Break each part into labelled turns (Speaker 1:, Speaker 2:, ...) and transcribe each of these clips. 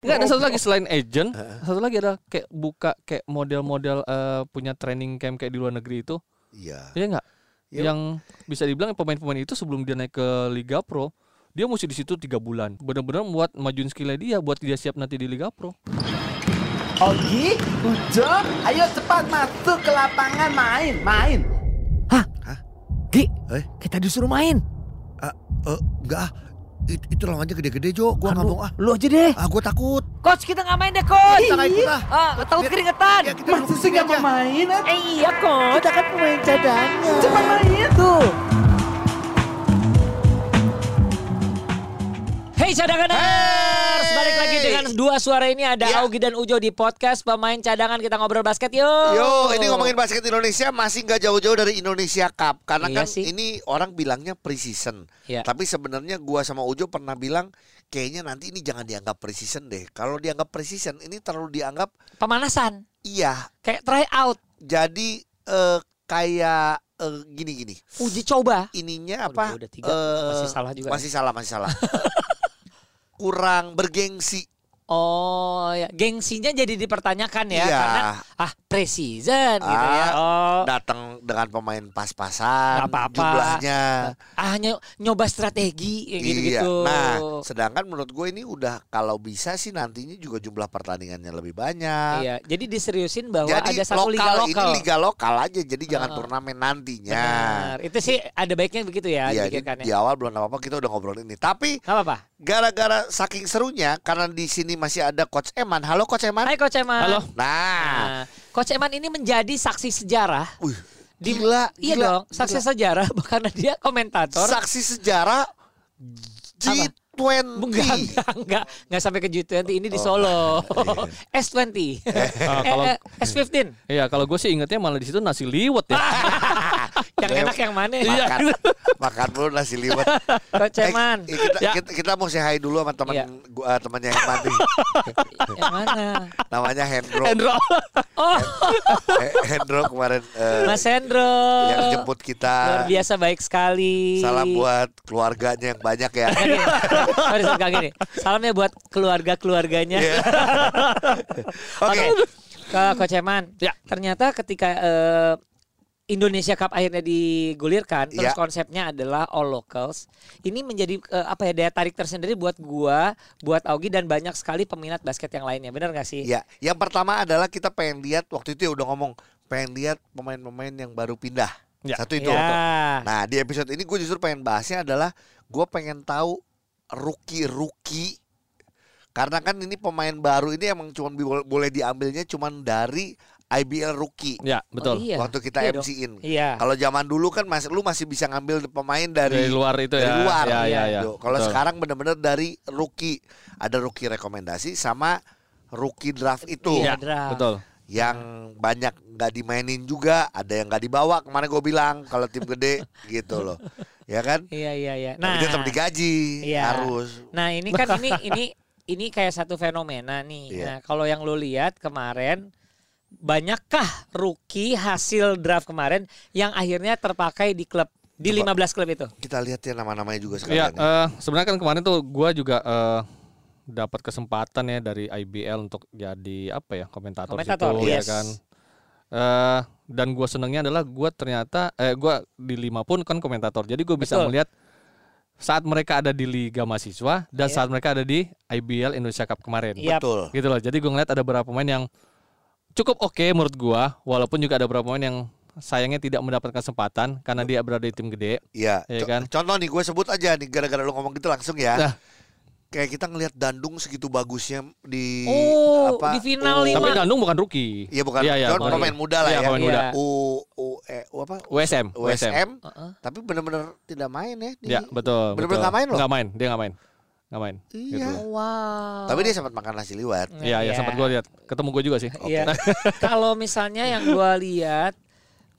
Speaker 1: Nggak, ada satu lagi selain agent, satu lagi ada kayak buka kayak model-model eh, punya training camp kayak di luar negeri itu.
Speaker 2: Iya.
Speaker 1: Iya nggak?
Speaker 2: Iya.
Speaker 1: Yang bisa dibilang pemain-pemain itu sebelum dia naik ke Liga Pro, dia mesti di situ tiga bulan. Benar-benar buat majuin skillnya dia, buat dia siap nanti di Liga Pro.
Speaker 3: Ogi, Ujo, ayo cepat masuk ke lapangan main, main.
Speaker 4: Gi,
Speaker 2: Eh?
Speaker 4: kita disuruh main.
Speaker 2: Eh, eh, enggak ah. It- itu lawannya gede-gede Jo, gua nggak
Speaker 4: Aduh,
Speaker 2: mau ah.
Speaker 4: Lu aja deh.
Speaker 2: Ah, gua takut.
Speaker 4: Coach kita nggak main deh coach.
Speaker 2: Kita nggak ikut ah.
Speaker 4: Ah, takut
Speaker 2: Biar-
Speaker 4: keringetan.
Speaker 2: Ya, kita
Speaker 3: Masih
Speaker 2: duduk
Speaker 3: sih
Speaker 2: sini
Speaker 3: nggak
Speaker 2: aja.
Speaker 3: mau main? ah?
Speaker 4: Eh, iya coach, kita kan pemain cadangan.
Speaker 3: Eh, Cepat main tuh.
Speaker 4: Hey cadanganers, balik lagi dengan dua suara ini ada
Speaker 2: Iya.
Speaker 4: Augie dan Ujo di podcast pemain cadangan kita ngobrol basket yuk.
Speaker 2: Yo, ini ngomongin basket Indonesia masih nggak jauh-jauh dari Indonesia Cup karena
Speaker 4: Iya
Speaker 2: kan
Speaker 4: sih.
Speaker 2: ini orang bilangnya pre-season.
Speaker 4: Iya.
Speaker 2: Tapi sebenarnya gua sama Ujo pernah bilang kayaknya nanti ini jangan dianggap pre-season deh. Kalau dianggap pre-season ini terlalu dianggap
Speaker 4: pemanasan,
Speaker 2: iya.
Speaker 4: kayak try out,
Speaker 2: Jadi eh, kayak eh, gini-gini.
Speaker 4: uji coba.
Speaker 2: Ininya
Speaker 4: Aduh,
Speaker 2: apa?
Speaker 4: gua udah tiga,
Speaker 2: eh,
Speaker 4: masih salah juga. ya.
Speaker 2: Masih salah, masih salah. Kurang bergengsi.
Speaker 4: Oh, ya. gengsinya jadi dipertanyakan ya,
Speaker 2: Iya.
Speaker 4: karena ah pre-season gitu ya.
Speaker 2: Ah,
Speaker 4: Oh,
Speaker 2: Datang dengan pemain pas-pasan,
Speaker 4: Nggak apa-apa.
Speaker 2: jumlahnya.
Speaker 4: ah nyo- nyoba strategi ya,
Speaker 2: Iya.
Speaker 4: gitu-gitu.
Speaker 2: Nah, sedangkan menurut gue ini udah kalau bisa sih nantinya juga jumlah pertandingannya lebih banyak.
Speaker 4: iya, jadi diseriusin bahwa
Speaker 2: ah. Jadi
Speaker 4: ada
Speaker 2: lokal,
Speaker 4: satu liga lokal.
Speaker 2: ini liga lokal aja, jadi jangan
Speaker 4: Heeh.
Speaker 2: turnamen nantinya.
Speaker 4: Benar. Itu sih ada baiknya begitu ya
Speaker 2: Iya, ini
Speaker 4: dipikirkannya.
Speaker 2: di awal belum apa-apa kita udah ngobrol ini. Tapi
Speaker 4: Gak apa-apa.
Speaker 2: gara-gara saking serunya karena di sini masih ada Coach Eman. Halo Coach Eman.
Speaker 4: Hai Coach Eman.
Speaker 1: Halo.
Speaker 2: Nah,
Speaker 4: Nah, Coach Eman ini menjadi saksi sejarah.
Speaker 2: wih,
Speaker 4: Di-
Speaker 2: gila,
Speaker 4: Iya
Speaker 2: gila,
Speaker 4: dong, saksi sejarah karena dia komentator.
Speaker 2: saksi sejarah
Speaker 4: Apa?
Speaker 2: G20.
Speaker 4: Enggak, enggak, enggak, enggak sampai ke G20 ini
Speaker 2: Oh. iya.
Speaker 4: di Solo. S20.
Speaker 1: Ah, kalau
Speaker 4: Eh, eh, S15.
Speaker 1: Iya, kalau gue sih ingetnya malah di situ nasi liwet ya.
Speaker 2: Ah!
Speaker 4: Yang enak yang mana?
Speaker 2: Makan,
Speaker 4: Iya.
Speaker 2: makan dulu nasi liwet.
Speaker 4: Coach
Speaker 2: Eh,
Speaker 4: Eman.
Speaker 2: eh, kita,
Speaker 1: Ya.
Speaker 2: kita, kita mau say hi dulu sama teman
Speaker 4: Iya.
Speaker 2: gua eh, temannya Eman nih.
Speaker 4: yang mana?
Speaker 2: Namanya Hendro.
Speaker 1: Hendro.
Speaker 4: Oh,
Speaker 2: Eh, Hendro kemarin eh,
Speaker 4: Mas Hendro.
Speaker 2: yang jemput
Speaker 4: Luar
Speaker 2: kita.
Speaker 4: biasa baik sekali.
Speaker 2: Salam buat keluarganya yang banyak ya.
Speaker 4: Gini, sorry, sorry, Kak, gini. Salamnya buat keluarga-keluarganya.
Speaker 2: Iya. Oke.
Speaker 4: Ke Coach Eman.
Speaker 1: Ya.
Speaker 4: Ternyata ketika eh, Indonesia Cup akhirnya digulirkan, terus
Speaker 2: Ya.
Speaker 4: konsepnya adalah all locals. Ini menjadi eh, apa ya daya tarik tersendiri buat gua, buat Augie dan banyak sekali peminat basket yang lainnya. Benar gak sih?
Speaker 2: Ya, yang pertama adalah kita pengen lihat waktu itu ya udah ngomong pengen lihat pemain-pemain yang baru pindah.
Speaker 1: Ya.
Speaker 2: Satu itu.
Speaker 4: Ya.
Speaker 2: Nah, di episode ini gue justru pengen bahasnya adalah gue pengen tahu rookie-rookie karena kan ini pemain baru ini emang cuma boleh diambilnya cuman dari IBL rookie.
Speaker 1: Ya, betul.
Speaker 4: Oh, iya.
Speaker 2: Waktu kita
Speaker 4: Iya dong.
Speaker 2: MC-in.
Speaker 4: Iya.
Speaker 2: Kalau zaman dulu kan masih lu masih bisa ngambil pemain dari,
Speaker 1: Dari luar itu
Speaker 2: dari
Speaker 1: ya.
Speaker 2: luar.
Speaker 1: Ya, ya, ya.
Speaker 2: Tuh, Kalau
Speaker 1: Betul.
Speaker 2: sekarang benar-benar dari rookie. Ada rookie rekomendasi sama rookie draft itu
Speaker 1: Iya,
Speaker 4: Iya, draft.
Speaker 1: betul.
Speaker 2: yang banyak nggak dimainin juga, ada yang nggak dibawa. Kemarin gue bilang kalau tim gede gitu loh. Ya kan?
Speaker 4: Iya, iya, iya.
Speaker 2: Nah, Tapi tetap digaji
Speaker 4: Iya.
Speaker 2: harus.
Speaker 4: Nah ini kan ini ini ini kayak satu fenomena nih.
Speaker 2: Iya.
Speaker 4: Nah kalau yang lo lihat kemarin banyakkah rookie hasil draft kemarin yang akhirnya terpakai di klub di
Speaker 2: Coba.
Speaker 4: 15 klub itu?
Speaker 2: Kita lihat ya nama-namanya juga
Speaker 1: Iya,
Speaker 2: sekalian. ya.
Speaker 1: eh, sebenarnya kan kemarin tuh gua juga eh, dapat kesempatan ya dari IBL untuk jadi apa ya komentator,
Speaker 4: Komentator,
Speaker 1: situ
Speaker 4: yes.
Speaker 1: ya kan. Eh, dan gua senengnya adalah gua ternyata eh gua di lima pun kan komentator. Jadi gua bisa
Speaker 4: Betul.
Speaker 1: melihat saat mereka ada di Liga Mahasiswa dan
Speaker 4: Iya.
Speaker 1: saat mereka ada di IBL Indonesia Cup kemarin.
Speaker 4: Iya.
Speaker 2: Betul.
Speaker 1: Gitu loh. Jadi gua ngeliat ada beberapa pemain yang cukup oke menurut gua walaupun juga ada beberapa pemain yang sayangnya tidak mendapatkan kesempatan karena dia berada di tim gede.
Speaker 2: Iya.
Speaker 1: Iya
Speaker 2: Co-
Speaker 1: kan?
Speaker 2: Contoh nih gue sebut aja nih gara-gara lu ngomong gitu langsung ya.
Speaker 1: Nah.
Speaker 2: Kayak kita ngelihat Dandung segitu bagusnya di
Speaker 4: Oh,
Speaker 2: apa?
Speaker 4: di
Speaker 2: U-
Speaker 4: final lima.
Speaker 1: Tapi Dandung bukan rookie.
Speaker 2: Iya bukan.
Speaker 1: Iya, iya,
Speaker 2: Cuman
Speaker 1: bukan.
Speaker 2: pemain muda lah
Speaker 1: Iya,
Speaker 2: ya.
Speaker 1: pemain
Speaker 4: muda.
Speaker 2: U U E U apa?
Speaker 1: USM,
Speaker 2: USM.
Speaker 4: Heeh.
Speaker 2: Tapi benar-benar tidak main ya di
Speaker 1: Ya betul.
Speaker 2: Bener-bener
Speaker 1: betul.
Speaker 2: nggak main loh.
Speaker 1: Nggak main, dia nggak main, nggak main.
Speaker 2: Iya.
Speaker 1: Gitu.
Speaker 4: Wow. Hmm.
Speaker 2: Tapi dia sempat makan nasi liwet.
Speaker 1: Iya, iya sempat gue lihat. Ketemu gue juga sih. Oh,
Speaker 4: Iya. Kalau misalnya yang gua lihat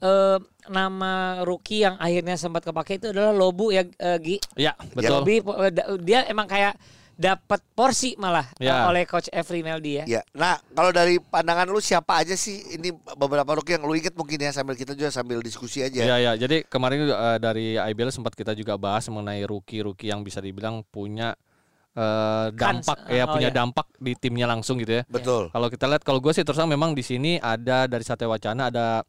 Speaker 4: eh, nama rookie yang akhirnya sempat kepake itu adalah Lobu ya eh, Gi.
Speaker 1: Iya, betul.
Speaker 4: Lobi, po- eh, da- dia emang kayak dapat porsi malah eh,
Speaker 1: Ya.
Speaker 4: oleh coach Every Meldi ya.
Speaker 2: Iya. Nah, kalau dari pandangan lu siapa aja sih ini beberapa rookie yang lu inget mungkin ya sambil kita juga sambil diskusi aja.
Speaker 1: Iya, iya. Jadi kemarin juga, eh, dari IBL sempat kita juga bahas mengenai rookie-rookie yang bisa dibilang punya eh, dampak
Speaker 4: Kans-
Speaker 1: ya
Speaker 4: oh,
Speaker 1: punya
Speaker 4: iya.
Speaker 1: dampak di timnya langsung gitu ya.
Speaker 2: Betul.
Speaker 1: Kalau kita lihat kalau gue sih terus terang memang di sini ada dari Satya Wacana ada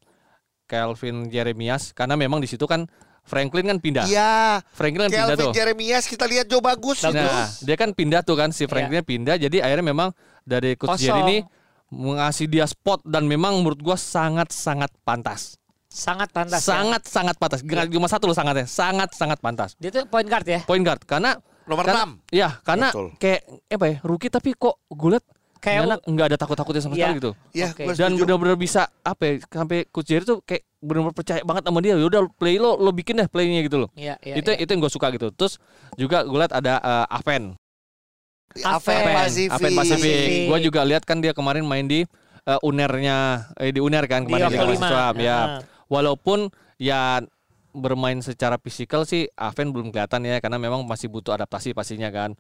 Speaker 1: Kelvin Jeremias karena memang di situ kan Franklin kan pindah.
Speaker 2: Iya.
Speaker 1: Franklin kan pindah
Speaker 2: Kelvin
Speaker 1: tuh.
Speaker 2: Jeremias kita lihat Joe bagus. itu.
Speaker 1: Nah, dia kan pindah tuh kan si Franklinnya pindah jadi akhirnya memang dari coach
Speaker 4: Iya. Kosong.
Speaker 1: Jerry ini mengasih dia spot dan memang menurut gua sangat-sangat pantas.
Speaker 4: Sangat pantas. ya.
Speaker 1: Sangat-sangat pantas. Nggak cuma satu loh sangatnya, sangat-sangat pantas.
Speaker 4: Dia tuh point guard ya.
Speaker 1: Point guard karena
Speaker 2: Nomor
Speaker 1: karena-
Speaker 2: enam.
Speaker 1: Iya, karena
Speaker 2: Betul.
Speaker 1: kayak eh, apa ya, rookie tapi kok gue liat
Speaker 4: Kayak-
Speaker 1: kayak nggak ada takut-takutnya sama
Speaker 4: Iya.
Speaker 1: sekali gitu.
Speaker 2: Iya,
Speaker 4: Oke.
Speaker 2: gua
Speaker 1: Dan
Speaker 2: setuju.
Speaker 1: benar-benar bisa apa ya, sampai coach Jerry tuh kayak benar-benar percaya banget sama dia. Yaudah play lo, lo bikin deh playnya gitu loh.
Speaker 4: Iya, iya.
Speaker 1: itu
Speaker 4: iya.
Speaker 1: itu yang gue suka gitu. Terus juga gue liat ada eh, Aven.
Speaker 2: Aven
Speaker 4: Aven.
Speaker 2: Pasifik.
Speaker 1: Aven Pasifik.
Speaker 4: Pasifik.
Speaker 1: Gue juga lihat kan dia kemarin main di eh, unernya eh, di uner kan
Speaker 4: Di
Speaker 1: kemarin
Speaker 4: waktu
Speaker 1: Liga
Speaker 4: lima.
Speaker 1: Mahasiswa, ya.
Speaker 4: Iya, Heeh.
Speaker 1: Walaupun ya bermain secara fisikal sih Aven belum kelihatan ya karena memang masih butuh adaptasi pastinya kan.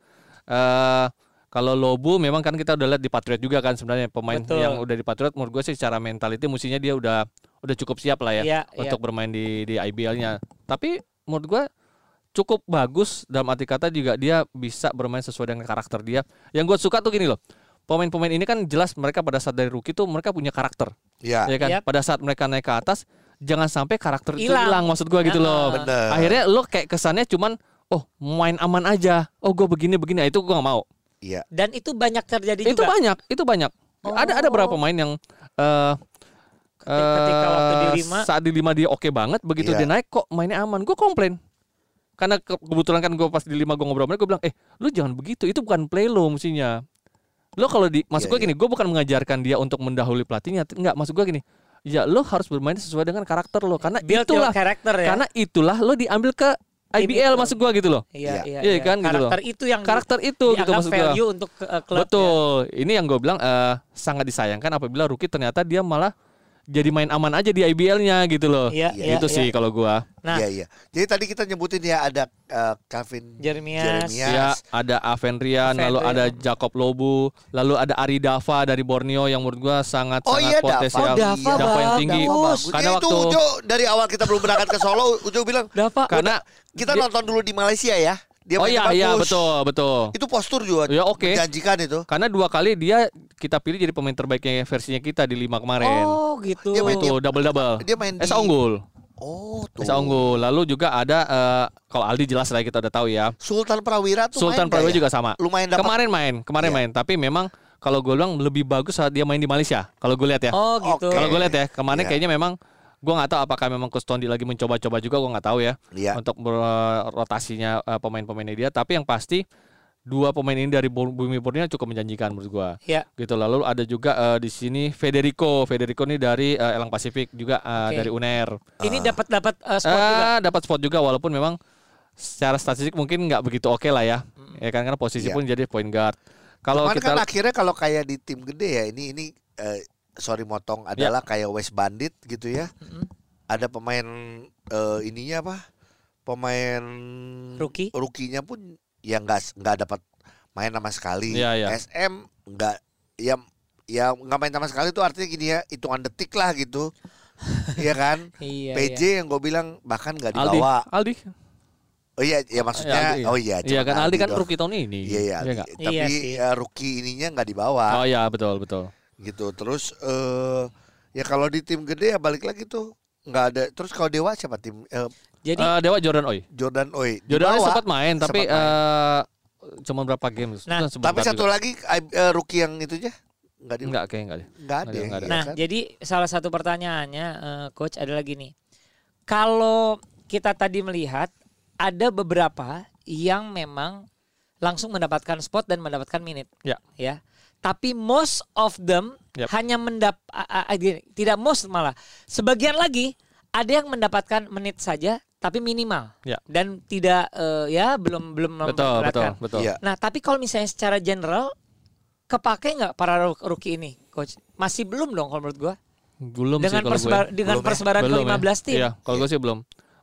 Speaker 1: eh kalau Lobu memang kan kita udah lihat di Patriot juga kan sebenarnya pemain
Speaker 4: Betul.
Speaker 1: yang udah di Patriot menurut gue sih secara mentality mestinya dia udah udah cukup siap lah ya
Speaker 4: Iya,
Speaker 1: untuk bermain di di IBL-nya. Tapi menurut gue cukup bagus dalam arti kata juga dia bisa bermain sesuai dengan karakter dia. Yang gue suka tuh gini loh. Pemain-pemain ini kan jelas mereka pada saat dari rookie tuh mereka punya karakter.
Speaker 2: Iya.
Speaker 1: Ya kan?
Speaker 4: Yap.
Speaker 1: Pada saat mereka naik ke atas jangan sampai karakter itu
Speaker 4: Hilang.
Speaker 1: hilang maksud gua gitu
Speaker 4: Ah.
Speaker 1: loh.
Speaker 2: Bener.
Speaker 1: Akhirnya lo kayak kesannya cuman oh main aman aja. Oh gue begini begini Nah, itu gua gak mau.
Speaker 2: Iya.
Speaker 4: Dan itu banyak terjadi
Speaker 1: Itu
Speaker 4: juga.
Speaker 1: banyak, itu banyak. Ada ada berapa
Speaker 4: Oh.
Speaker 1: pemain yang eh
Speaker 4: Ketika- ketika waktu di
Speaker 1: eh,
Speaker 4: lima.
Speaker 1: saat di lima dia oke banget, begitu
Speaker 2: Iya.
Speaker 1: dia naik kok mainnya aman. Gue komplain. Karena ke- kebetulan kan gue pas di lima gue ngobrol sama gue bilang, "Eh, lu jangan begitu. Itu bukan play lo mestinya." Lo kalau di maksud
Speaker 2: Iya,
Speaker 1: gue gini, gue bukan mengajarkan dia untuk mendahului pelatihnya, t- enggak. Maksud gue gini, ya lo harus bermain sesuai dengan karakter lo karena
Speaker 4: Build your
Speaker 1: itulah
Speaker 4: character ya.
Speaker 1: karena itulah lo diambil ke IBL
Speaker 4: IBL.
Speaker 1: maksud gue gitu loh.
Speaker 4: iya,
Speaker 2: Iya.
Speaker 4: iya,
Speaker 1: Iya kan, gitu loh.
Speaker 4: Karakter itu yang
Speaker 1: Karakter itu gitu
Speaker 4: dianggap
Speaker 1: maksud gua.
Speaker 4: value untuk eh, klub.
Speaker 1: Betul. Ini yang gue bilang eh, sangat disayangkan apabila rookie ternyata dia malah jadi main aman aja di IBL-nya gitu loh.
Speaker 4: Iya, iya,
Speaker 1: itu
Speaker 4: iya.
Speaker 1: sih kalau gua.
Speaker 4: Nah,
Speaker 2: Iya, iya. Jadi tadi kita nyebutin ya ada eh, Calvin
Speaker 4: Jeremias.
Speaker 1: Ya, ada Avendrian, lalu ada
Speaker 4: Avendrian.
Speaker 1: Jacob Lobu, lalu ada Ari Dava dari Borneo yang menurut gua sangat
Speaker 2: Oh
Speaker 1: sangat
Speaker 2: iya
Speaker 1: potensial.
Speaker 2: Dava.
Speaker 1: yang
Speaker 4: Dava bagus.
Speaker 1: tinggi.
Speaker 4: Dava bagus.
Speaker 1: Karena
Speaker 2: Karena Ya, itu
Speaker 1: waktu
Speaker 2: Ujo dari awal kita belum berangkat ke Solo, Ujo bilang
Speaker 4: Dapak.
Speaker 1: karena
Speaker 2: kita
Speaker 1: dia-
Speaker 2: nonton dulu di Malaysia ya.
Speaker 1: Iya.
Speaker 2: Dia
Speaker 1: Oh
Speaker 2: mainnya
Speaker 1: iya iya
Speaker 2: bagus.
Speaker 1: betul betul.
Speaker 2: Itu postur juga.
Speaker 1: Ya, oke.
Speaker 2: Menjanjikan itu.
Speaker 1: Karena dua kali dia kita pilih jadi pemain terbaiknya versinya kita di lima kemarin. Eh,
Speaker 4: Oh, gitu.
Speaker 2: Dia main di-
Speaker 1: Tuh double double.
Speaker 2: iya. dia main di-
Speaker 1: Esa unggul.
Speaker 2: Oh, tuh.
Speaker 1: Esa unggul. Lalu juga ada eh, kalau Aldi jelas lah kita udah tahu ya.
Speaker 2: Sultan Prawira tuh
Speaker 1: Sultan
Speaker 2: main nggak
Speaker 1: Prawira
Speaker 2: ya?
Speaker 1: juga sama.
Speaker 2: Lumayan dapat.
Speaker 1: Kemarin main, kemarin
Speaker 2: Iya.
Speaker 1: main. Tapi memang kalau gue bilang lebih bagus saat dia main di Malaysia. Kalau gue lihat ya.
Speaker 4: Oh, gitu.
Speaker 2: Oke.
Speaker 1: Kalau gue lihat ya, kemarin
Speaker 2: Iya.
Speaker 1: kayaknya memang gue nggak tahu apakah memang Coach Tondi lagi mencoba-coba juga gue nggak tahu ya
Speaker 2: Iya.
Speaker 1: untuk ber- rotasinya eh, pemain-pemainnya dia. Tapi yang pasti dua pemain ini dari Bu- Bumi Borneo cukup menjanjikan menurut gue.
Speaker 4: Iya.
Speaker 1: Gitu lalu ada juga eh, di sini Federico, Federico ini dari eh, Elang Pasifik juga eh,
Speaker 4: Oke.
Speaker 1: dari UNER.
Speaker 4: Ini dapat dapat eh, spot juga.
Speaker 1: Ah, dapat spot juga walaupun memang secara statistik mungkin nggak begitu oke lah ya. Ya kan karena posisi
Speaker 2: Iya.
Speaker 1: pun jadi point guard. Kalau
Speaker 2: Cuman
Speaker 1: oh, kita
Speaker 2: kan akhirnya kalau kayak di tim gede ya ini ini eh, sorry motong
Speaker 1: Ya.
Speaker 2: adalah kayak West Bandit gitu ya.
Speaker 4: Mm-mm.
Speaker 2: Ada pemain eh, ininya apa? Pemain
Speaker 4: Rookie.
Speaker 2: Rukinya pun ya nggak nggak dapat main sama sekali.
Speaker 1: Iya, iya.
Speaker 2: SM nggak ya ya nggak main sama sekali itu artinya gini ya hitungan detik lah gitu. Iya kan?
Speaker 4: Iya.
Speaker 2: PJ yang gue bilang bahkan nggak
Speaker 1: Aldi,
Speaker 2: dibawa.
Speaker 1: Aldi. Ya,
Speaker 2: Oh iya, ya maksudnya,
Speaker 1: Aldi.
Speaker 2: oh iya.
Speaker 1: Iya
Speaker 2: cuman
Speaker 1: kan Aldi kan
Speaker 2: dong.
Speaker 1: rookie tahun ini.
Speaker 2: Iya iya. Aldi.
Speaker 1: nggak?
Speaker 2: Tapi
Speaker 4: Iya sih.
Speaker 2: eh, rookie ininya nggak dibawa
Speaker 1: Oh iya betul betul.
Speaker 2: gitu. Terus eh ya kalau di tim gede ya balik lagi tuh nggak ada. Terus kalau dewa siapa tim Eh,
Speaker 4: Jadi
Speaker 1: Eh, Dewa Jordan Oi.
Speaker 2: Jordan Oi.
Speaker 1: Jordan Oi
Speaker 2: dibawa.
Speaker 1: sempat main tapi
Speaker 2: Sempat main.
Speaker 1: eh cuma berapa game
Speaker 4: Nah,
Speaker 2: tapi satu lagi I- eh, rookie yang itu aja nggak di
Speaker 1: enggak kayak enggak deh.
Speaker 2: nggak ada.
Speaker 1: Nggak ada.
Speaker 2: ya
Speaker 4: Nah,
Speaker 2: kan?
Speaker 4: jadi salah satu pertanyaannya eh, coach adalah gini. Kalau kita tadi melihat ada beberapa yang memang langsung mendapatkan spot dan mendapatkan minute.
Speaker 2: Iya.
Speaker 1: Ya.
Speaker 4: Ya. Tapi most of them
Speaker 1: Yap.
Speaker 4: hanya mendap a- a- gini, tidak most malah. Sebagian lagi ada yang mendapatkan menit saja tapi minimal.
Speaker 1: Ya.
Speaker 4: Dan tidak eh, ya belum belum
Speaker 1: Betul betul
Speaker 4: memberatkan.
Speaker 1: betul.
Speaker 2: Iya.
Speaker 4: Nah, tapi kalau misalnya secara general kepake nggak para ro- rookie ini, coach? Masih belum dong kalau menurut gua.
Speaker 1: Belum sih
Speaker 4: Dengan
Speaker 1: kalau gue.
Speaker 4: persebar dengan
Speaker 2: Belum ya?
Speaker 4: persebaran
Speaker 1: Belum ya.
Speaker 4: ke-15 tim.
Speaker 1: Iya, kalau gue sih belum.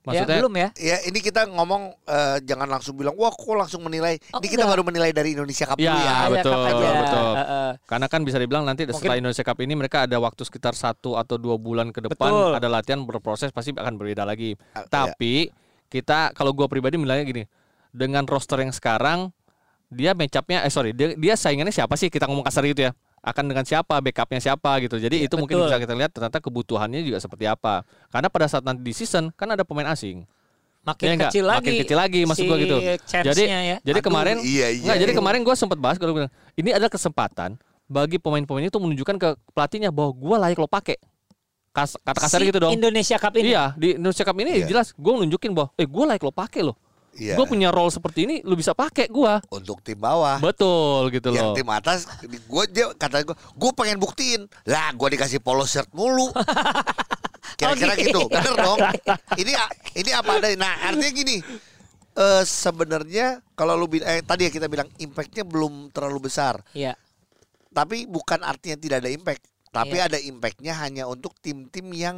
Speaker 4: Ya,
Speaker 1: Maksudnya
Speaker 4: belum ya?
Speaker 2: Ya ini kita ngomong eh, jangan langsung bilang wah kok langsung menilai.
Speaker 4: Oh,
Speaker 2: ini kita
Speaker 4: enggak.
Speaker 2: baru menilai dari Indonesia Cup
Speaker 1: Ya,
Speaker 2: dulu ya.
Speaker 4: Ada
Speaker 1: betul,
Speaker 4: cup aja.
Speaker 1: betul.
Speaker 4: Eh, eh.
Speaker 1: Karena kan bisa dibilang nanti setelah
Speaker 4: Mungkin-
Speaker 1: Indonesia Cup ini mereka ada waktu sekitar satu atau dua bulan ke depan
Speaker 4: Betul. iya.
Speaker 1: ada latihan berproses pasti akan berbeda lagi.
Speaker 2: Ah,
Speaker 1: Tapi kita kalau gua pribadi bilangnya gini, dengan roster yang sekarang dia matchupnya eh sorry dia, dia saingannya siapa sih kita ngomong kasar gitu ya akan dengan siapa backupnya siapa gitu jadi itu mungkin
Speaker 4: Iya, betul.
Speaker 1: bisa kita lihat ternyata kebutuhannya juga seperti apa karena pada saat nanti di season kan ada pemain asing
Speaker 4: Makin
Speaker 1: Iya nggak?
Speaker 4: kecil lagi.
Speaker 1: makin kecil lagi maksud
Speaker 4: si
Speaker 1: gua gitu
Speaker 4: chance-nya
Speaker 1: jadi
Speaker 4: ya.
Speaker 1: jadi
Speaker 2: Aduh,
Speaker 1: kemarin
Speaker 2: iya, iya.
Speaker 1: nggak, jadi kemarin gue sempat bahas gua bilang ini adalah kesempatan bagi pemain-pemain itu menunjukkan ke pelatihnya bahwa gue layak lo pakai Kas, kata kasar
Speaker 4: Si
Speaker 1: gitu dong
Speaker 4: Indonesia Cup ini.
Speaker 1: Iya di Indonesia Cup ini
Speaker 2: Iya.
Speaker 1: jelas gue nunjukin bahwa eh gue layak lo pakai loh.
Speaker 2: Iya.
Speaker 1: Gue punya role seperti ini lo bisa pakai gue.
Speaker 2: Untuk tim bawah.
Speaker 1: Betul gitu
Speaker 2: yang
Speaker 1: loh.
Speaker 2: tim atas gue dia kata gue gue pengen buktiin lah gue dikasih polo shirt mulu kira-kira
Speaker 1: Oh,
Speaker 4: Oke.
Speaker 2: gitu bener dong ini a- ini apa ada nah artinya gini eh sebenarnya kalau lu bi- eh, tadi ya kita bilang impactnya belum terlalu besar
Speaker 4: Iya.
Speaker 2: tapi bukan artinya tidak ada impact tapi
Speaker 4: Iya.
Speaker 2: ada impactnya hanya untuk tim-tim yang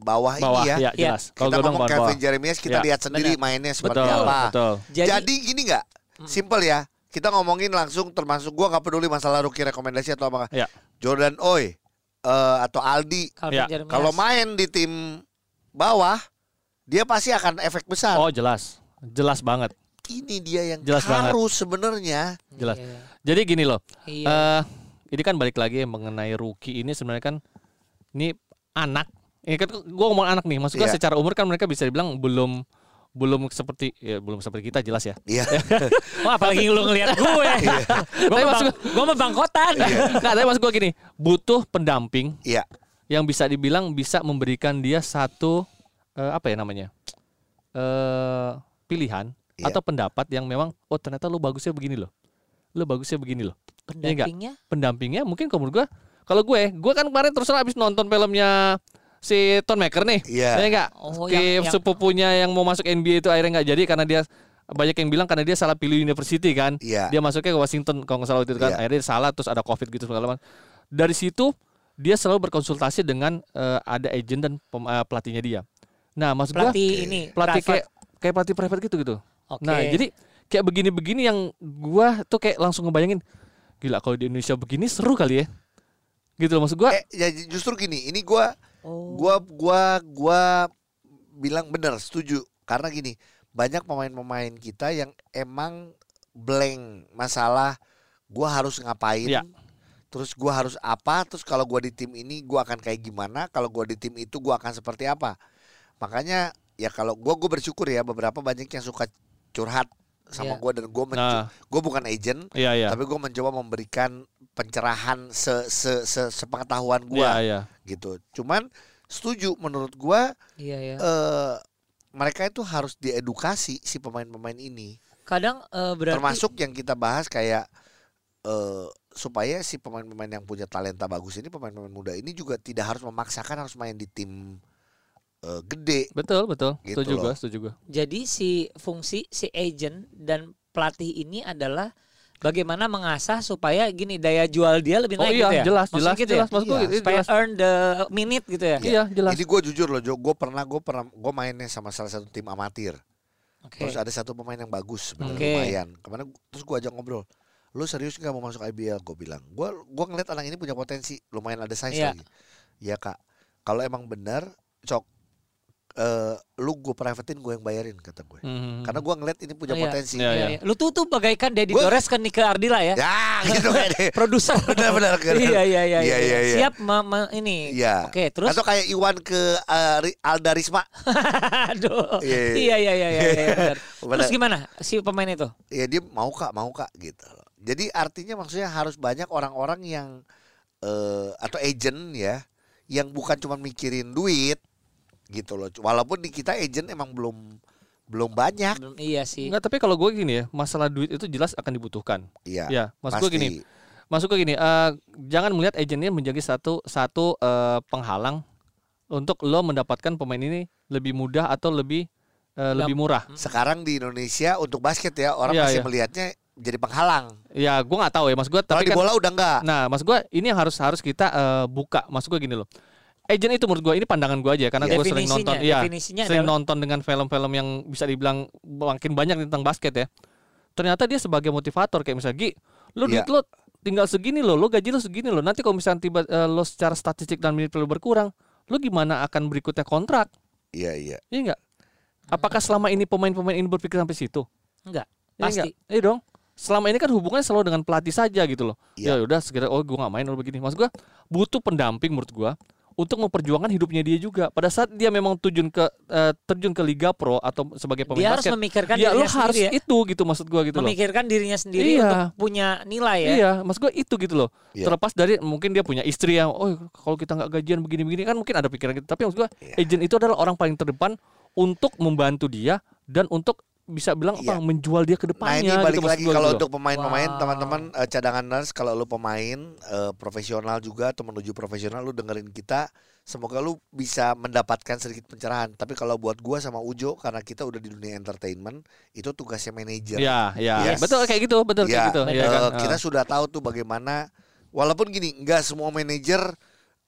Speaker 2: bawah,
Speaker 1: Bawah
Speaker 2: ini ya
Speaker 1: ya, jelas. Kalau
Speaker 2: kita
Speaker 1: gue
Speaker 2: ngomong
Speaker 1: bawah.
Speaker 2: Kevin Jeremias kita
Speaker 1: Ya,
Speaker 2: lihat sendiri mainnya seperti
Speaker 1: Betul,
Speaker 2: apa
Speaker 1: betul.
Speaker 4: Jadi,
Speaker 2: jadi, gini nggak? Simple ya. Kita ngomongin langsung termasuk gua nggak peduli masalah rookie rekomendasi atau apa.
Speaker 1: Ya.
Speaker 2: Jordan Oi eh, atau Aldi
Speaker 4: Calvin
Speaker 1: Iya.
Speaker 4: Jeremias.
Speaker 2: kalau main di tim bawah dia pasti akan efek besar.
Speaker 1: Oh jelas, jelas banget,
Speaker 2: Ini dia yang
Speaker 1: Jelas banget.
Speaker 2: harus sebenarnya.
Speaker 1: Hmm, jelas. Eh,
Speaker 4: Iya.
Speaker 1: Jadi gini loh.
Speaker 4: Iya.
Speaker 1: Eh, ini kan balik lagi mengenai rookie ini sebenarnya kan ini anak. Ini kan gue ngomong anak nih. Maksud gue
Speaker 2: Iya.
Speaker 1: secara umur kan mereka bisa dibilang belum belum seperti ya belum seperti kita jelas ya. Iya.
Speaker 2: Iya.
Speaker 4: Wah, Oh, apalagi lu ngelihat gue. gue
Speaker 1: Tapi
Speaker 4: mah
Speaker 1: maksud Iya.
Speaker 4: bang, gua mah bangkotan.
Speaker 1: Nggak, tapi maksud gue gini, butuh pendamping
Speaker 2: Iya.
Speaker 1: yang bisa dibilang bisa memberikan dia satu eh, apa ya namanya eh pilihan
Speaker 2: Iya.
Speaker 1: atau pendapat yang memang oh ternyata lo bagusnya begini loh lo bagusnya begini loh Iya nggak?
Speaker 4: Pendampingnya
Speaker 1: pendampingnya mungkin kalau menurut gue kalau gue gue kan kemarin terus terang abis nonton filmnya si Tom Maker nih
Speaker 2: Iya.
Speaker 1: ya enggak yang,
Speaker 4: Oh, yang- yang-
Speaker 1: sepupunya yang mau masuk NBA itu akhirnya nggak jadi karena dia banyak yang bilang karena dia salah pilih university kan
Speaker 2: Iya.
Speaker 1: dia masuknya ke Washington kalau nggak salah waktu itu kan
Speaker 2: Iya.
Speaker 1: akhirnya salah terus ada covid gitu segala macam dari situ dia selalu berkonsultasi dengan eh, ada agent dan pem- eh, pelatihnya dia nah maksud gua
Speaker 4: pelatih ini.
Speaker 1: pelatih
Speaker 4: private.
Speaker 1: kayak kayak pelatih private gitu gitu
Speaker 4: Oke.
Speaker 1: nah jadi kayak begini-begini yang gua tuh kayak langsung ngebayangin gila kalau di Indonesia begini seru kali ya gitu loh maksud gua
Speaker 2: Eh, ya justru gini, ini gua
Speaker 4: Oh.
Speaker 2: gua gua gua bilang bener setuju karena gini banyak pemain-pemain kita yang emang blank masalah gua harus ngapain
Speaker 1: Iya.
Speaker 2: terus gua harus apa terus kalau gua di tim ini gua akan kayak gimana kalau gua di tim itu gua akan seperti apa makanya ya kalau gua gua bersyukur ya beberapa banyak yang suka curhat sama
Speaker 4: Iya.
Speaker 2: gua dan gua mencu-
Speaker 1: Nah.
Speaker 2: gua bukan agent
Speaker 1: iya iya
Speaker 2: tapi gua mencoba memberikan pencerahan se se, se sepengetahuan gua
Speaker 1: iya iya
Speaker 2: gitu. Cuman setuju menurut gua
Speaker 4: Iya, iya.
Speaker 2: eh mereka itu harus diedukasi si pemain-pemain ini.
Speaker 4: Kadang eh, berarti
Speaker 2: Termasuk yang kita bahas kayak eh supaya si pemain-pemain yang punya talenta bagus ini pemain-pemain muda ini juga tidak harus memaksakan harus main di tim eh, gede.
Speaker 1: betul betul
Speaker 2: Gitu
Speaker 1: setuju
Speaker 2: loh.
Speaker 1: gua setuju gua
Speaker 4: Jadi si fungsi si agent dan pelatih ini adalah bagaimana mengasah supaya gini daya jual dia lebih
Speaker 1: oh
Speaker 4: naik
Speaker 1: iya
Speaker 4: gitu ya.
Speaker 1: jelas
Speaker 4: Maksudnya
Speaker 1: jelas
Speaker 4: gitu
Speaker 1: jelas
Speaker 4: ya.
Speaker 1: maksud gua
Speaker 2: Iya,
Speaker 1: gitu,
Speaker 4: Supaya
Speaker 1: jelas
Speaker 4: earn the minute gitu ya.
Speaker 1: iya jelas
Speaker 2: Ini gue jujur loh Jo, gue pernah gue pernah gue mainnya sama salah satu tim amatir.
Speaker 4: Oke.
Speaker 2: Terus ada satu pemain yang bagus sebenarnya
Speaker 4: Oke.
Speaker 2: lumayan. Kemarin gua- terus gue ajak ngobrol. Lu serius nggak mau masuk IBL? Gue bilang, gue gua ngeliat anak ini punya potensi, lumayan ada size
Speaker 4: Iya.
Speaker 2: lagi. Ya kak, kalau emang benar, cok, eh lu gue privatein gue yang bayarin kata gue.
Speaker 1: Mhm.
Speaker 2: Karena gue ngeliat ini punya
Speaker 4: Hmm, Oh, iya.
Speaker 2: potensi.
Speaker 1: Iya,
Speaker 4: Iya,
Speaker 1: iya.
Speaker 4: iya. Lu tuh tuh bagaikan Deddy
Speaker 2: Gua-
Speaker 4: Dores ke Nike Ardila ya.
Speaker 2: Ya gitu kayaknya.
Speaker 4: Produser.
Speaker 2: Benar-benar.
Speaker 4: Iya iya
Speaker 2: Iya,
Speaker 4: iya.
Speaker 2: iya, iya.
Speaker 4: Siap ma- ma- ini.
Speaker 2: Iya.
Speaker 4: Oke, terus
Speaker 2: Atau kayak Iwan ke eh, Ri- Alda Risma.
Speaker 4: aduh.
Speaker 2: Iya,
Speaker 4: Iya
Speaker 2: iya.
Speaker 4: iya iya iya. iya, benar. Terus
Speaker 2: Benar.
Speaker 4: gimana si pemain itu?
Speaker 2: ya dia mau kak mau kak gitu loh. jadi artinya maksudnya harus banyak orang-orang yang eh atau agent ya yang bukan cuma mikirin duit gitu loh walaupun di kita agent emang belum belum banyak
Speaker 4: Belum- Iya sih.
Speaker 1: Nggak, tapi kalau gue gini ya masalah duit itu jelas akan dibutuhkan
Speaker 2: Iya
Speaker 1: ya maksud gue gini maksud gue gini eh, jangan melihat agennya menjadi satu satu eh, penghalang untuk lo mendapatkan pemain ini lebih mudah atau lebih eh, lebih murah
Speaker 2: sekarang di Indonesia untuk basket ya orang
Speaker 1: Iya,
Speaker 2: masih
Speaker 1: iya.
Speaker 2: melihatnya jadi penghalang
Speaker 1: ya gue nggak tahu ya mas gue
Speaker 2: kalau
Speaker 1: tapi kan
Speaker 2: di bola udah enggak
Speaker 1: nah mas gue ini yang harus harus kita eh, buka maksud gue gini loh agent itu menurut gue ini pandangan gue aja karena
Speaker 4: Iya.
Speaker 1: gue sering
Speaker 4: Definisinya-
Speaker 1: nonton iya
Speaker 4: definisinya
Speaker 1: sering
Speaker 4: adalah-
Speaker 1: nonton dengan film-film yang bisa dibilang makin banyak tentang basket ya ternyata dia sebagai motivator kayak misalnya Gi lo
Speaker 2: Iya.
Speaker 1: duit lo tinggal segini lo lo gaji lo segini lo nanti kalau misalnya tiba eh, lo secara statistik dan menit lo berkurang lo gimana akan berikutnya kontrak
Speaker 2: iya iya
Speaker 1: Iya enggak? Apakah selama ini pemain-pemain ini berpikir sampai situ?
Speaker 4: Enggak.
Speaker 1: Iya
Speaker 4: Pasti.
Speaker 1: nggak? Iya dong. selama ini kan hubungannya selalu dengan pelatih saja gitu loh.
Speaker 2: Iya.
Speaker 1: Ya udah segera oh gua nggak main udah begini. Maksud gua butuh pendamping menurut gua untuk memperjuangkan hidupnya dia juga. Pada saat dia memang tujuan ke eh, terjun ke Liga Pro atau sebagai pemain
Speaker 4: Dia harus
Speaker 1: basket,
Speaker 4: memikirkan
Speaker 1: ya lu
Speaker 4: dirinya
Speaker 1: harus
Speaker 4: sendiri ya.
Speaker 1: itu gitu maksud gua gitu loh.
Speaker 4: Memikirkan dirinya sendiri
Speaker 1: Iya.
Speaker 4: untuk punya nilai ya.
Speaker 1: Iya, maksud gua itu gitu loh.
Speaker 2: Iya.
Speaker 1: Terlepas dari mungkin dia punya istri yang, oh kalau kita nggak gajian begini-begini kan mungkin ada pikiran gitu. Tapi maksud gua agent itu adalah orang paling terdepan untuk membantu dia dan untuk bisa bilang
Speaker 2: Iya.
Speaker 1: apa menjual dia ke
Speaker 2: Nah
Speaker 1: depannya.
Speaker 2: ini balik
Speaker 1: gitu, maksud
Speaker 2: lagi
Speaker 1: gua
Speaker 2: kalau
Speaker 1: gitu loh.
Speaker 2: untuk pemain-pemain
Speaker 4: Wow.
Speaker 2: teman-teman eh, cadangan Nans kalau lu pemain eh, profesional juga atau menuju profesional lu dengerin kita semoga lu bisa mendapatkan sedikit pencerahan tapi kalau buat gua sama Ujo karena kita udah di dunia entertainment itu tugasnya manajer
Speaker 1: Ya, ya,
Speaker 2: Yes.
Speaker 1: betul kayak gitu, betul kayak
Speaker 2: Ya,
Speaker 1: gitu. ya
Speaker 2: eh,
Speaker 1: kan?
Speaker 2: Iya. kita sudah tahu tuh bagaimana walaupun gini nggak semua manajer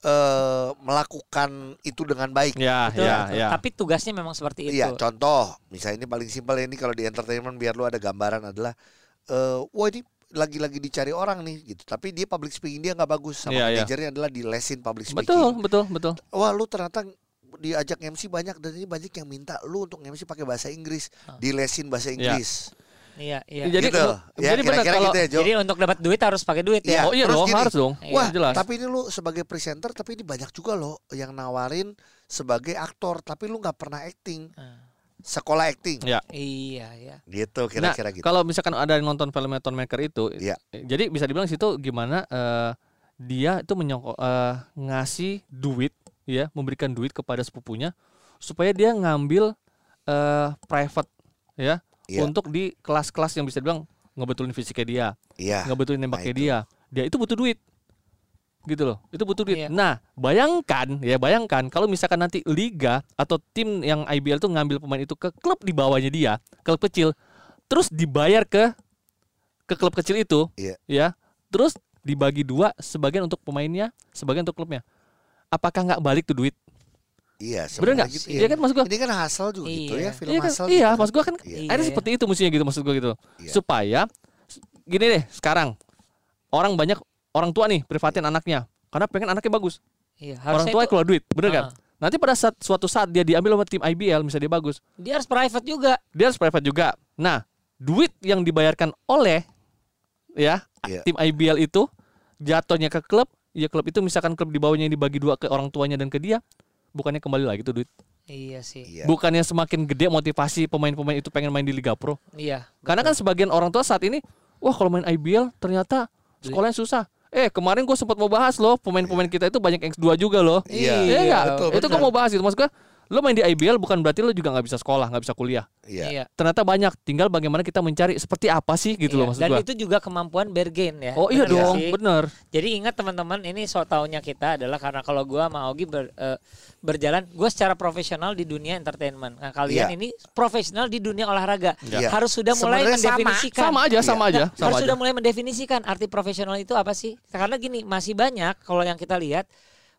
Speaker 2: eh, melakukan itu dengan baik
Speaker 1: ya,
Speaker 4: Betul.
Speaker 1: ya, ya.
Speaker 4: Tapi tugasnya memang seperti
Speaker 1: Gitu.
Speaker 4: itu.
Speaker 2: Iya, contoh, misalnya ini paling simpel ya, ini kalau di entertainment biar lu ada gambaran adalah eh wah ini lagi-lagi dicari orang nih gitu. Tapi dia public speaking dia nggak bagus sama
Speaker 1: Iya, iya.
Speaker 2: manajernya adalah di lesin public speaking.
Speaker 1: betul, betul, betul.
Speaker 2: Wah, lu ternyata diajak MC banyak dan ini banyak yang minta lu untuk MC pakai bahasa Inggris, di lesin bahasa Inggris.
Speaker 4: Iya, iya.
Speaker 1: Jadi,
Speaker 2: gitu.
Speaker 1: jadi
Speaker 2: Ya,
Speaker 1: benar
Speaker 2: kira-kira
Speaker 1: kalau-
Speaker 2: gitu ya, Jo.
Speaker 4: Jadi untuk dapat duit harus pakai duit
Speaker 2: Iya.
Speaker 4: ya.
Speaker 1: oh iya
Speaker 2: terus
Speaker 1: dong,
Speaker 2: gini.
Speaker 1: harus dong.
Speaker 4: Iya,
Speaker 2: Wah,
Speaker 1: jelas.
Speaker 2: tapi ini lu sebagai presenter tapi ini banyak juga loh yang nawarin sebagai aktor tapi lu nggak pernah acting.
Speaker 4: Hmm.
Speaker 2: Sekolah acting.
Speaker 1: Ya.
Speaker 4: Iya, iya.
Speaker 2: Gitu
Speaker 1: Nah,
Speaker 2: kira-kira gitu.
Speaker 1: kalau misalkan ada yang nonton filmnya Tom Maker itu,
Speaker 2: Iya.
Speaker 1: jadi bisa dibilang situ gimana eh, dia itu menyongko- eh, ngasih duit, ya, memberikan duit kepada sepupunya supaya dia ngambil eh, private, ya,
Speaker 2: Iya.
Speaker 1: untuk di kelas-kelas yang bisa dibilang ngebetulin fisiknya dia,
Speaker 2: Iya.
Speaker 1: ngebetulin nembaknya
Speaker 2: itu.
Speaker 1: dia, dia itu butuh duit, gitu loh, itu butuh duit.
Speaker 4: Iya.
Speaker 1: Nah, bayangkan, ya, bayangkan kalau misalkan nanti liga atau tim yang IBL tuh ngambil pemain itu ke klub di bawahnya dia, klub kecil, terus dibayar ke ke klub kecil itu,
Speaker 2: Iya.
Speaker 1: ya, terus dibagi dua, sebagian untuk pemainnya, sebagian untuk klubnya. Apakah nggak balik tuh duit?
Speaker 2: Iya,
Speaker 1: Bener
Speaker 2: sebenarnya
Speaker 1: nggak?
Speaker 2: gitu
Speaker 1: Iya kan maksud gua.
Speaker 2: Ini kan hasil juga gitu
Speaker 4: Iya.
Speaker 2: ya, film
Speaker 1: Iya kan?
Speaker 2: hasil.
Speaker 1: Iya,
Speaker 2: gitu
Speaker 1: maksud gua kan
Speaker 2: Iya.
Speaker 1: akhirnya
Speaker 4: Iya.
Speaker 1: seperti itu mestinya gitu maksud gua gitu.
Speaker 2: Iya.
Speaker 1: Supaya s- gini deh, sekarang orang banyak orang tua nih privatin anaknya karena pengen anaknya bagus.
Speaker 4: Iya,
Speaker 1: orang
Speaker 4: harusnya
Speaker 1: tua
Speaker 4: itu-
Speaker 1: keluar duit, bener kan?
Speaker 4: Ah.
Speaker 1: Nanti pada saat suatu saat dia diambil sama tim IBL misalnya dia bagus,
Speaker 4: dia harus private juga.
Speaker 1: dia harus private juga. Nah, duit yang dibayarkan oleh ya
Speaker 2: Iya.
Speaker 1: tim IBL itu jatuhnya ke klub, ya klub itu misalkan klub di bawahnya yang dibagi dua ke orang tuanya dan ke dia, bukannya kembali lagi tuh duit.
Speaker 4: Iya sih.
Speaker 2: Iya.
Speaker 1: Bukannya semakin gede motivasi pemain-pemain itu pengen main di Liga Pro.
Speaker 4: Iya.
Speaker 1: Karena kan sebagian orang tua saat ini, wah kalau main IBL ternyata sekolahnya susah. Eh kemarin gue sempat mau bahas loh pemain-pemain kita itu banyak yang S2 juga loh.
Speaker 2: Iya.
Speaker 1: Iya nggak?
Speaker 4: betul,
Speaker 1: itu gue
Speaker 4: betul.
Speaker 1: mau bahas itu maksud gue. Lo main di IBL bukan berarti lo juga nggak bisa sekolah, nggak bisa kuliah.
Speaker 2: Iya.
Speaker 4: Iya.
Speaker 1: Ternyata banyak. Tinggal bagaimana kita mencari seperti apa sih gitu
Speaker 4: Iya,
Speaker 1: loh maksud
Speaker 4: Dan
Speaker 1: gue.
Speaker 4: itu juga kemampuan bergen ya.
Speaker 1: Oh iya
Speaker 4: Bener
Speaker 1: dong,
Speaker 4: sih?
Speaker 1: bener.
Speaker 4: Jadi ingat teman-teman, ini so taunya kita adalah karena kalau gua sama Ogi ber- eh, berjalan, gue secara profesional di dunia entertainment. Nah
Speaker 2: Iya.
Speaker 4: kalian ini profesional di dunia olahraga,
Speaker 2: Iya.
Speaker 4: harus sudah mulai
Speaker 2: Sebenarnya sama.
Speaker 4: mendefinisikan.
Speaker 1: Sama aja, sama aja,
Speaker 4: Nah,
Speaker 1: sama
Speaker 4: Kan harus
Speaker 1: aja.
Speaker 4: sudah mulai mendefinisikan arti profesional itu apa sih? Karena gini, masih banyak kalau yang kita lihat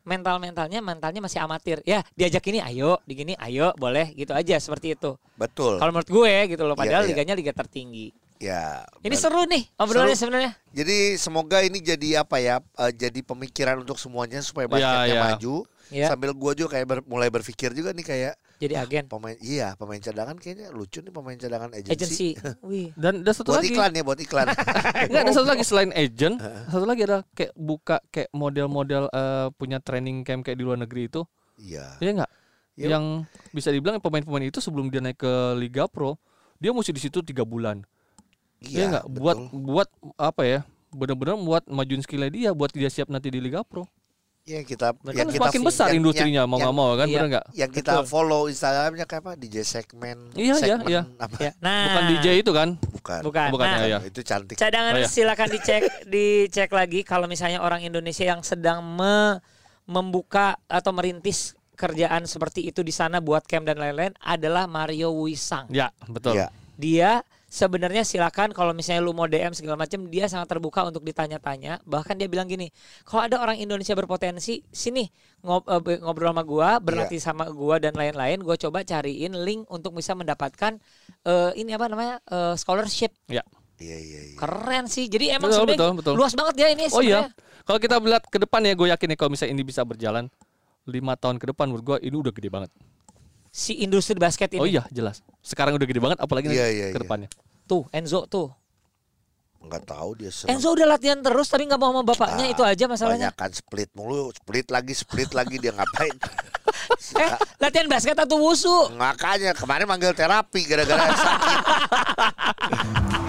Speaker 4: mental-mentalnya mentalnya masih amatir. Ya, diajak ini ayo, digini ayo, boleh gitu aja seperti itu.
Speaker 2: Betul.
Speaker 4: Kalau menurut gue gitu loh,
Speaker 2: Iya,
Speaker 4: padahal
Speaker 2: iya.
Speaker 4: liganya liga tertinggi.
Speaker 2: ya.
Speaker 4: Ini
Speaker 2: ber-
Speaker 4: seru nih obrolannya
Speaker 2: Seru.
Speaker 4: sebenarnya.
Speaker 2: Jadi semoga ini jadi apa ya? eh, jadi pemikiran untuk semuanya supaya
Speaker 1: Iya,
Speaker 2: basketnya
Speaker 1: iya.
Speaker 2: maju.
Speaker 4: Iya.
Speaker 2: Sambil gua juga kayak ber- mulai berpikir juga nih kayak
Speaker 4: Jadi agen,
Speaker 2: pemain iya, pemain cadangan kayaknya lucu nih pemain cadangan agency.
Speaker 4: agensi. Wih.
Speaker 1: Dan ada satu
Speaker 2: Buat
Speaker 1: lagi.
Speaker 2: iklan ya, buat iklan.
Speaker 1: Enggak ada satu lagi selain agent, satu lagi ada kayak buka kayak model-model eh, punya training camp kayak di luar negeri itu.
Speaker 2: Iya.
Speaker 1: Iya nggak?
Speaker 2: Iya.
Speaker 1: Yang bisa dibilang pemain-pemain itu sebelum dia naik ke Liga Pro, dia mesti di situ tiga bulan. Iya nggak?
Speaker 2: betul.
Speaker 1: Buat buat apa ya? Benar-benar buat majuin skillnya dia, buat dia siap nanti di Liga Pro.
Speaker 2: Iya, kita
Speaker 1: Kan
Speaker 2: kita
Speaker 1: semakin
Speaker 2: yang-
Speaker 1: besar
Speaker 2: yang-
Speaker 1: industrinya
Speaker 2: yang-
Speaker 1: mau nggak
Speaker 2: yang-
Speaker 1: mau kan,
Speaker 4: iya.
Speaker 1: benar nggak?
Speaker 2: Yang kita follow Instagramnya kayak apa? DJ segmen.
Speaker 1: Iya, iya,
Speaker 2: segmen
Speaker 1: iya.
Speaker 2: Apa?
Speaker 4: Ya, Nah,
Speaker 1: Bukan DJ itu kan?
Speaker 2: Bukan.
Speaker 4: Bukan.
Speaker 1: Bukan,
Speaker 4: Nah,
Speaker 1: ya, ya.
Speaker 2: Itu cantik.
Speaker 1: Oh,
Speaker 4: Cadangan
Speaker 1: iya.
Speaker 4: silakan dicek dicek lagi kalau misalnya orang Indonesia yang sedang me- membuka atau merintis kerjaan seperti itu di sana buat camp dan lain-lain adalah Mario Wisang.
Speaker 1: Ya, betul.
Speaker 2: Iya.
Speaker 4: Dia sebenarnya silakan kalau misalnya lu mau DM segala macam dia sangat terbuka untuk ditanya-tanya. Bahkan dia bilang gini, kalau ada orang Indonesia berpotensi, sini ngob- eh, ngobrol sama gua, berlatih
Speaker 1: Ya.
Speaker 4: sama gua dan lain-lain, gua coba cariin link untuk bisa mendapatkan eh, ini apa namanya? eh, scholarship
Speaker 1: Ya.
Speaker 2: Iya, iya, iya.
Speaker 4: Keren sih. Jadi emang
Speaker 1: Betul,
Speaker 4: sebenarnya
Speaker 1: betul, betul.
Speaker 4: luas banget ya ini
Speaker 1: Oh iya.
Speaker 4: sebenarnya.
Speaker 1: Kalau kita lihat ke depan ya, gue yakin nih kalau misalnya ini bisa berjalan lima tahun ke depan menurut gue ini udah gede banget.
Speaker 4: Si industri
Speaker 1: iya.
Speaker 4: basket ini.
Speaker 1: Oh iya, jelas. Sekarang udah gede banget apalagi nanti
Speaker 2: Iya, iya,
Speaker 1: ke
Speaker 2: iya.
Speaker 1: depannya.
Speaker 4: Tuh Enzo tuh.
Speaker 2: nggak tahu dia seneng.
Speaker 4: Enzo udah latihan terus tapi nggak mau sama bapaknya
Speaker 2: Ah,
Speaker 4: itu aja masalahnya.
Speaker 2: Banyakan split mulu, split lagi, split lagi dia ngapain?
Speaker 4: Eh, latihan basket atau wusu?
Speaker 2: Makanya kemarin manggil terapi gara-gara yang sakit.